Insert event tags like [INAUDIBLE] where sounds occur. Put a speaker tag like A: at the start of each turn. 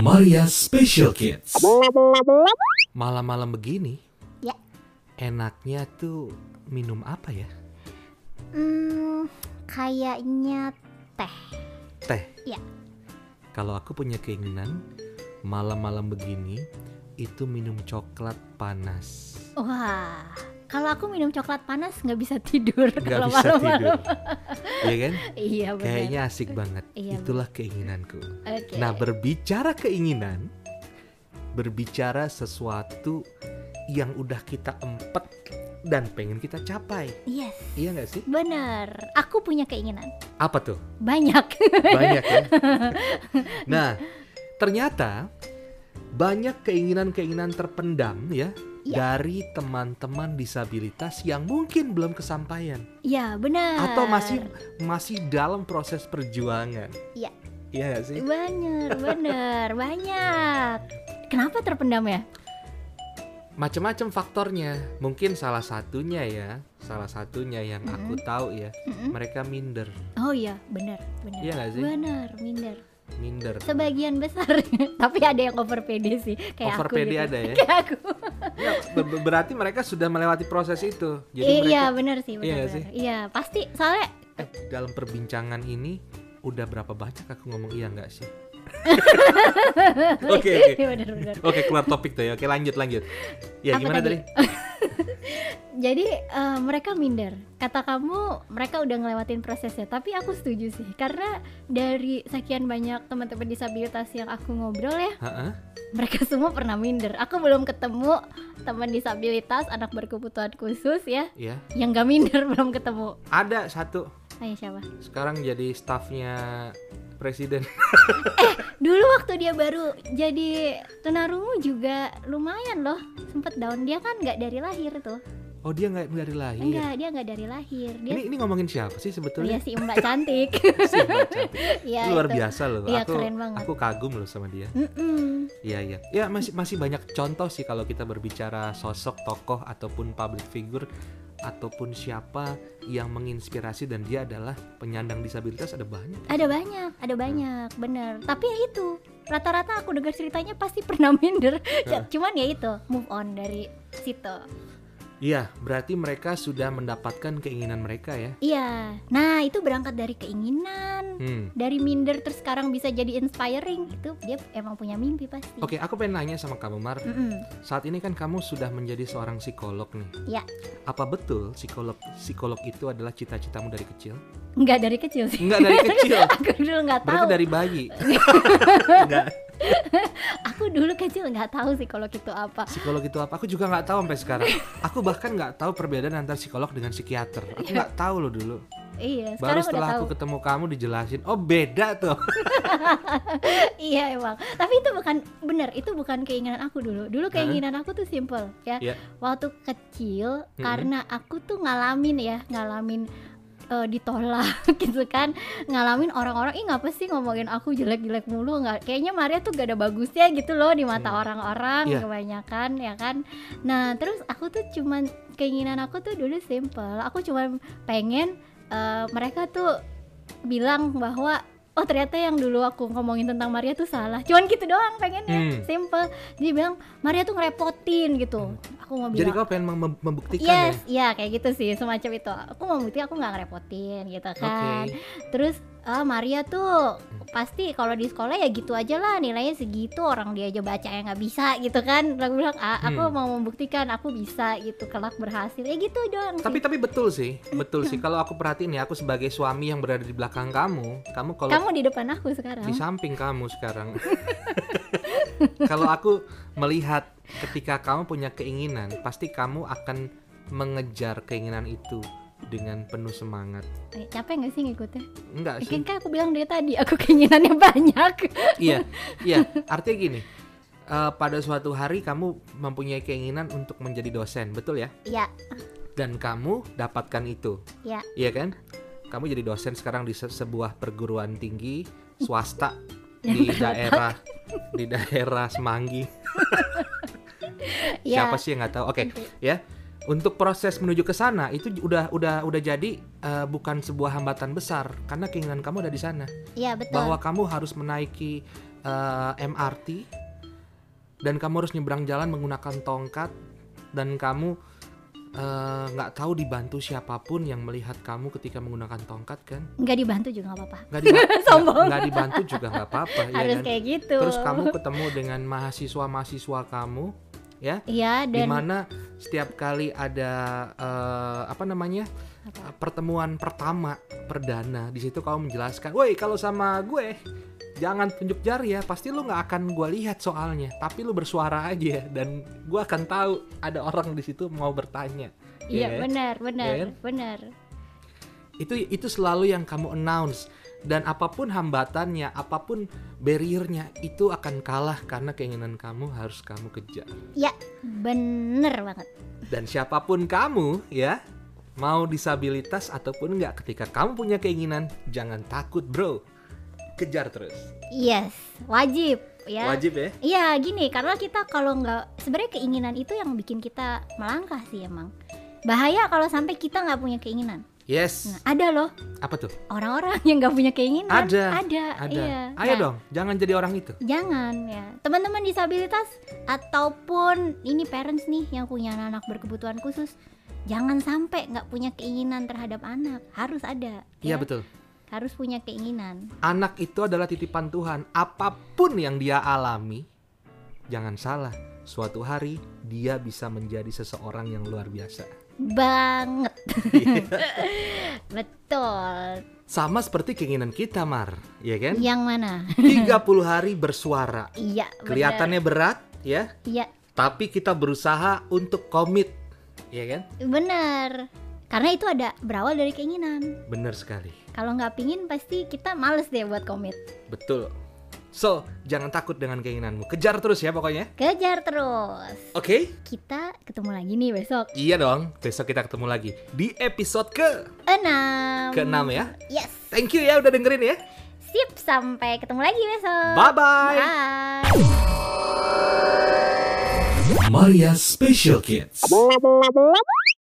A: Maria Special Kids.
B: Malam-malam begini,
C: Ya.
B: enaknya tuh minum apa ya?
C: Hmm, kayaknya teh.
B: Teh.
C: Ya.
B: Kalau aku punya keinginan malam-malam begini itu minum coklat panas.
C: Wah, kalau aku minum coklat panas nggak bisa tidur
B: Nggak
C: kalau
B: bisa
C: malam-malam.
B: tidur. Iya kan?
C: [LAUGHS] Iya benar.
B: Kayaknya asik banget.
C: Iya,
B: Itulah keinginanku.
C: Oke.
B: Nah, berbicara keinginan, berbicara sesuatu yang udah kita empet dan pengen kita capai.
C: Yes,
B: Iya nggak sih?
C: benar. Aku punya keinginan
B: Apa tuh?
C: banyak. [LAUGHS]
B: Banyak ya. nah, ternyata banyak keinginan-keinginan terpendam ya
C: Iya.
B: dari teman-teman disabilitas yang mungkin belum kesampaian
C: ya benar.
B: atau masih masih dalam proses perjuangan.
C: Iya.
B: Iya nggak sih?
C: Bener, bener, banyak. Kenapa terpendam ya?
B: macam-macam faktornya. Mungkin salah satunya ya, salah satunya yang aku
C: Mm-hmm.
B: tahu ya,
C: Mm-mm.
B: mereka minder,
C: Oh iya, bener, bener.
B: Iya nggak sih?
C: Bener, minder.
B: minder.
C: Sebagian besar, [LAUGHS] tapi ada yang over PD sih, kayak
B: Over
C: aku.
B: PD
C: gitu.
B: ada ya?
C: [LAUGHS] Kayak aku.
B: Ya, ber- ber- berarti mereka sudah melewati proses itu. Jadi
C: I-
B: mereka
C: iya, bener sih,
B: Iya
C: bener,
B: nggak
C: bener.
B: sih?
C: Iya, pasti soalnya
B: eh, dalam perbincangan ini udah berapa banyak aku ngomong iya nggak sih? [LAUGHS] Oke, oke.
C: [LAUGHS] bener, bener.
B: Oke, keluar topik tuh ya. Oke, lanjut lanjut. Ya
C: Apa
B: gimana
C: tadi?
B: tadi?
C: Jadi eh, mereka minder. Kata kamu mereka udah ngelewatin prosesnya, tapi aku setuju sih karena dari sekian banyak teman-teman disabilitas yang aku ngobrol ya, [LAUGHS]
B: Heeh.
C: mereka semua pernah minder. Aku belum ketemu teman disabilitas anak berkebutuhan khusus ya
B: Ya,
C: yang gak minder [LAUGHS] belum ketemu.
B: ada satu
C: Ayo siapa?
B: sekarang jadi stafnya presiden.
C: Dulu waktu dia baru jadi tunarungu juga lumayan loh, sempet down. Dia kan nggak dari lahir tuh.
B: Oh, dia nggak dari lahir.
C: Enggak, dia nggak dari lahir. Dia
B: Ini ini ngomongin siapa sih
C: Oh
B: sebetulnya?
C: iya si Mbak
B: [LAUGHS]
C: cantik.
B: Sih, Mbak Cantik.
C: [LAUGHS] Iya,
B: luar
C: itu.
B: biasa loh.
C: Iya,
B: aku
C: keren banget.
B: aku kagum loh sama dia.
C: Mm-mm.
B: Iya iya. Ya masih masih banyak contoh sih kalau kita berbicara sosok tokoh ataupun public figure ataupun siapa yang menginspirasi dan dia adalah penyandang disabilitas ada banyak.
C: Ada banyak, ada banyak, bener. Tapi ya itu, rata-rata aku dengar ceritanya pasti pernah [LAUGHS] minder. C- Cuman ya itu, move on dari situ.
B: Iya, berarti mereka sudah mendapatkan keinginan mereka ya.
C: Iya. Nah itu berangkat dari keinginan,
B: Hmm.
C: dari minder terus sekarang bisa jadi inspiring. Itu dia emang punya mimpi pasti.
B: Oke, aku pengen nanya sama kamu Mar.
C: Mm-mm.
B: Saat ini kan kamu sudah menjadi seorang psikolog nih.
C: Iya.
B: Apa betul psikolog psikolog itu adalah cita-citamu dari kecil?
C: Nggak dari kecil sih. [LAUGHS]
B: Enggak dari kecil.
C: Aku dulu nggak
B: Berarti
C: tahu.
B: dari bayi. [LAUGHS] Enggak.
C: Aku dulu kecil nggak tahu sih kalau itu apa.
B: Psikolog itu apa? Aku juga nggak tahu sampai sekarang. Aku bahkan nggak tahu perbedaan antara psikolog dengan psikiater. Aku nggak tahu loh dulu. Baru
C: Iya. Sekarang udah
B: setelah
C: tahu.
B: aku ketemu kamu dijelasin, oh beda tuh.
C: Iya emang. Tapi itu bukan bener, itu bukan keinginan aku dulu. Dulu keinginan aku tuh simple ya.
B: Iya.
C: Waktu kecil
B: Mm-mm.
C: karena aku tuh ngalamin ya, ngalamin eh, ditolak [LAUGHS] gitu kan. Ngalamin orang-orang, "Ih, ngapa sih ngomongin aku jelek-jelek mulu?" nggak Kayaknya Maria tuh gak ada bagusnya gitu loh di mata
B: Hmm.
C: orang-orang
B: Iya.
C: kebanyakan ya kan. Nah, terus aku tuh cuman keinginan aku tuh dulu simple. Aku cuman pengen eh, mereka tuh bilang bahwa oh ternyata yang dulu aku ngomongin tentang Maria tuh salah. Cuman gitu doang pengennya,
B: Hmm.
C: simple. Dia bilang Maria tuh ngerepotin gitu. Aku mau
B: Jadi
C: bilang
B: kau pengen mem- membuktikan ya?
C: Yes, iya kayak gitu sih semacam itu. Aku mau bukti aku nggak ngerepotin gitu
B: ya. Oke.
C: kan. Terus ah, Maria tuh pasti kalau di sekolah ya gitu aja lah nilainya segitu orang dia aja baca yang nggak bisa gitu kan. Aku bilang ah, aku
B: Hmm.
C: mau membuktikan aku bisa gitu kelak berhasil. Ya gitu doang. sih.
B: Tapi tapi betul sih, betul
C: Iya.
B: sih. Kalau aku perhatiin ya, aku sebagai suami yang berada di belakang kamu, kamu kalau
C: kamu ya? di depan aku sekarang.
B: di samping kamu sekarang. [LAUGHS] Kalau aku melihat ketika kamu punya keinginan, pasti kamu akan mengejar keinginan itu dengan penuh semangat.
C: Eh, capek nggak sih ngikutnya?
B: Enggak
C: Kan
B: sih.
C: kan aku bilang dari tadi aku keinginannya [LAUGHS] banyak.
B: Iya. Iya, artinya gini. eh, pada suatu hari kamu mempunyai keinginan untuk menjadi dosen, betul ya?
C: Iya,
B: Dan kamu dapatkan itu.
C: Iya.
B: Iya kan? Kamu jadi dosen sekarang di se- sebuah perguruan tinggi swasta di daerah di daerah Semanggi.
C: iya. Ya.
B: Siapa sih yang nggak tahu? Oke, ya. untuk proses menuju ke sana itu udah udah udah jadi eh, bukan sebuah hambatan besar karena keinginan kamu ada di sana
C: Iya betul.
B: bahwa kamu harus menaiki eh, MRT dan kamu harus nyebrang jalan menggunakan tongkat dan kamu eh, nggak tahu dibantu siapapun yang melihat kamu ketika menggunakan tongkat kan
C: Nggak dibantu juga nggak apa-apa.
B: nggak
C: [LAUGHS]
B: diba- nggak-
C: Sombong.
B: nggak dibantu juga nggak apa-apa ya
C: Harus
B: kan?
C: kayak gitu.
B: terus kamu ketemu dengan mahasiswa mahasiswa kamu
C: Iya
B: di
C: dan
B: mana setiap kali ada eh, apa namanya
C: Apa?
B: eh, pertemuan pertama perdana di situ kamu menjelaskan, woi kalau sama gue jangan tunjuk jari ya pasti lu nggak akan gue lihat soalnya tapi lu bersuara aja ya, dan gue akan tahu ada orang di situ mau bertanya ya.
C: iya benar benar
B: Iya kan?
C: benar.
B: itu itu selalu yang kamu announce dan apapun hambatannya apapun barriernya itu akan kalah karena keinginan kamu harus kamu kejar
C: Bener banget.
B: Dan siapapun kamu ya, mau disabilitas ataupun enggak ketika kamu punya keinginan, jangan takut bro. Kejar terus.
C: Yes, wajib ya.
B: Wajib ya.
C: Iya gini karena kita kalau nggak sebenarnya keinginan itu yang bikin kita melangkah sih emang. Bahaya kalau sampai kita nggak punya keinginan.
B: Yes.
C: Nah, ada loh
B: Apa tuh?
C: orang-orang [LAUGHS] yang nggak punya keinginan.
B: Ada,
C: Ada.
B: Ada.
C: Iya.
B: Ayo
C: Nah,
B: dong, jangan jadi orang itu.
C: Jangan ya teman-teman disabilitas ataupun ini parents nih yang punya anak berkebutuhan khusus jangan sampai nggak punya keinginan terhadap anak harus ada
B: Iya
C: ya.
B: betul.
C: harus punya keinginan
B: Anak itu adalah titipan Tuhan. Apapun yang dia alami, jangan salah. Suatu hari dia bisa menjadi seseorang yang luar biasa.
C: [LAUGHS] banget betul
B: Sama seperti keinginan kita, Mar, ya
C: [LAUGHS]
B: kan?
C: yang mana
B: 30 hari bersuara.
C: iya bener.
B: Kelihatannya berat, ya.
C: iya
B: tapi kita berusaha untuk komit ya kan
C: bener karena itu ada berawal dari keinginan
B: bener sekali
C: kalau nggak pingin pasti kita males deh buat komit
B: betul so jangan takut dengan keinginanmu kejar terus ya pokoknya
C: kejar terus
B: oke
C: kita ketemu lagi nih besok
B: iya dong besok kita ketemu lagi di episode ke
C: enam
B: keenam ya
C: yes
B: thank you ya udah dengerin ya
C: Sip, sampai ketemu lagi besok.
B: bye bye
C: Bye.
A: Maria Special Kids.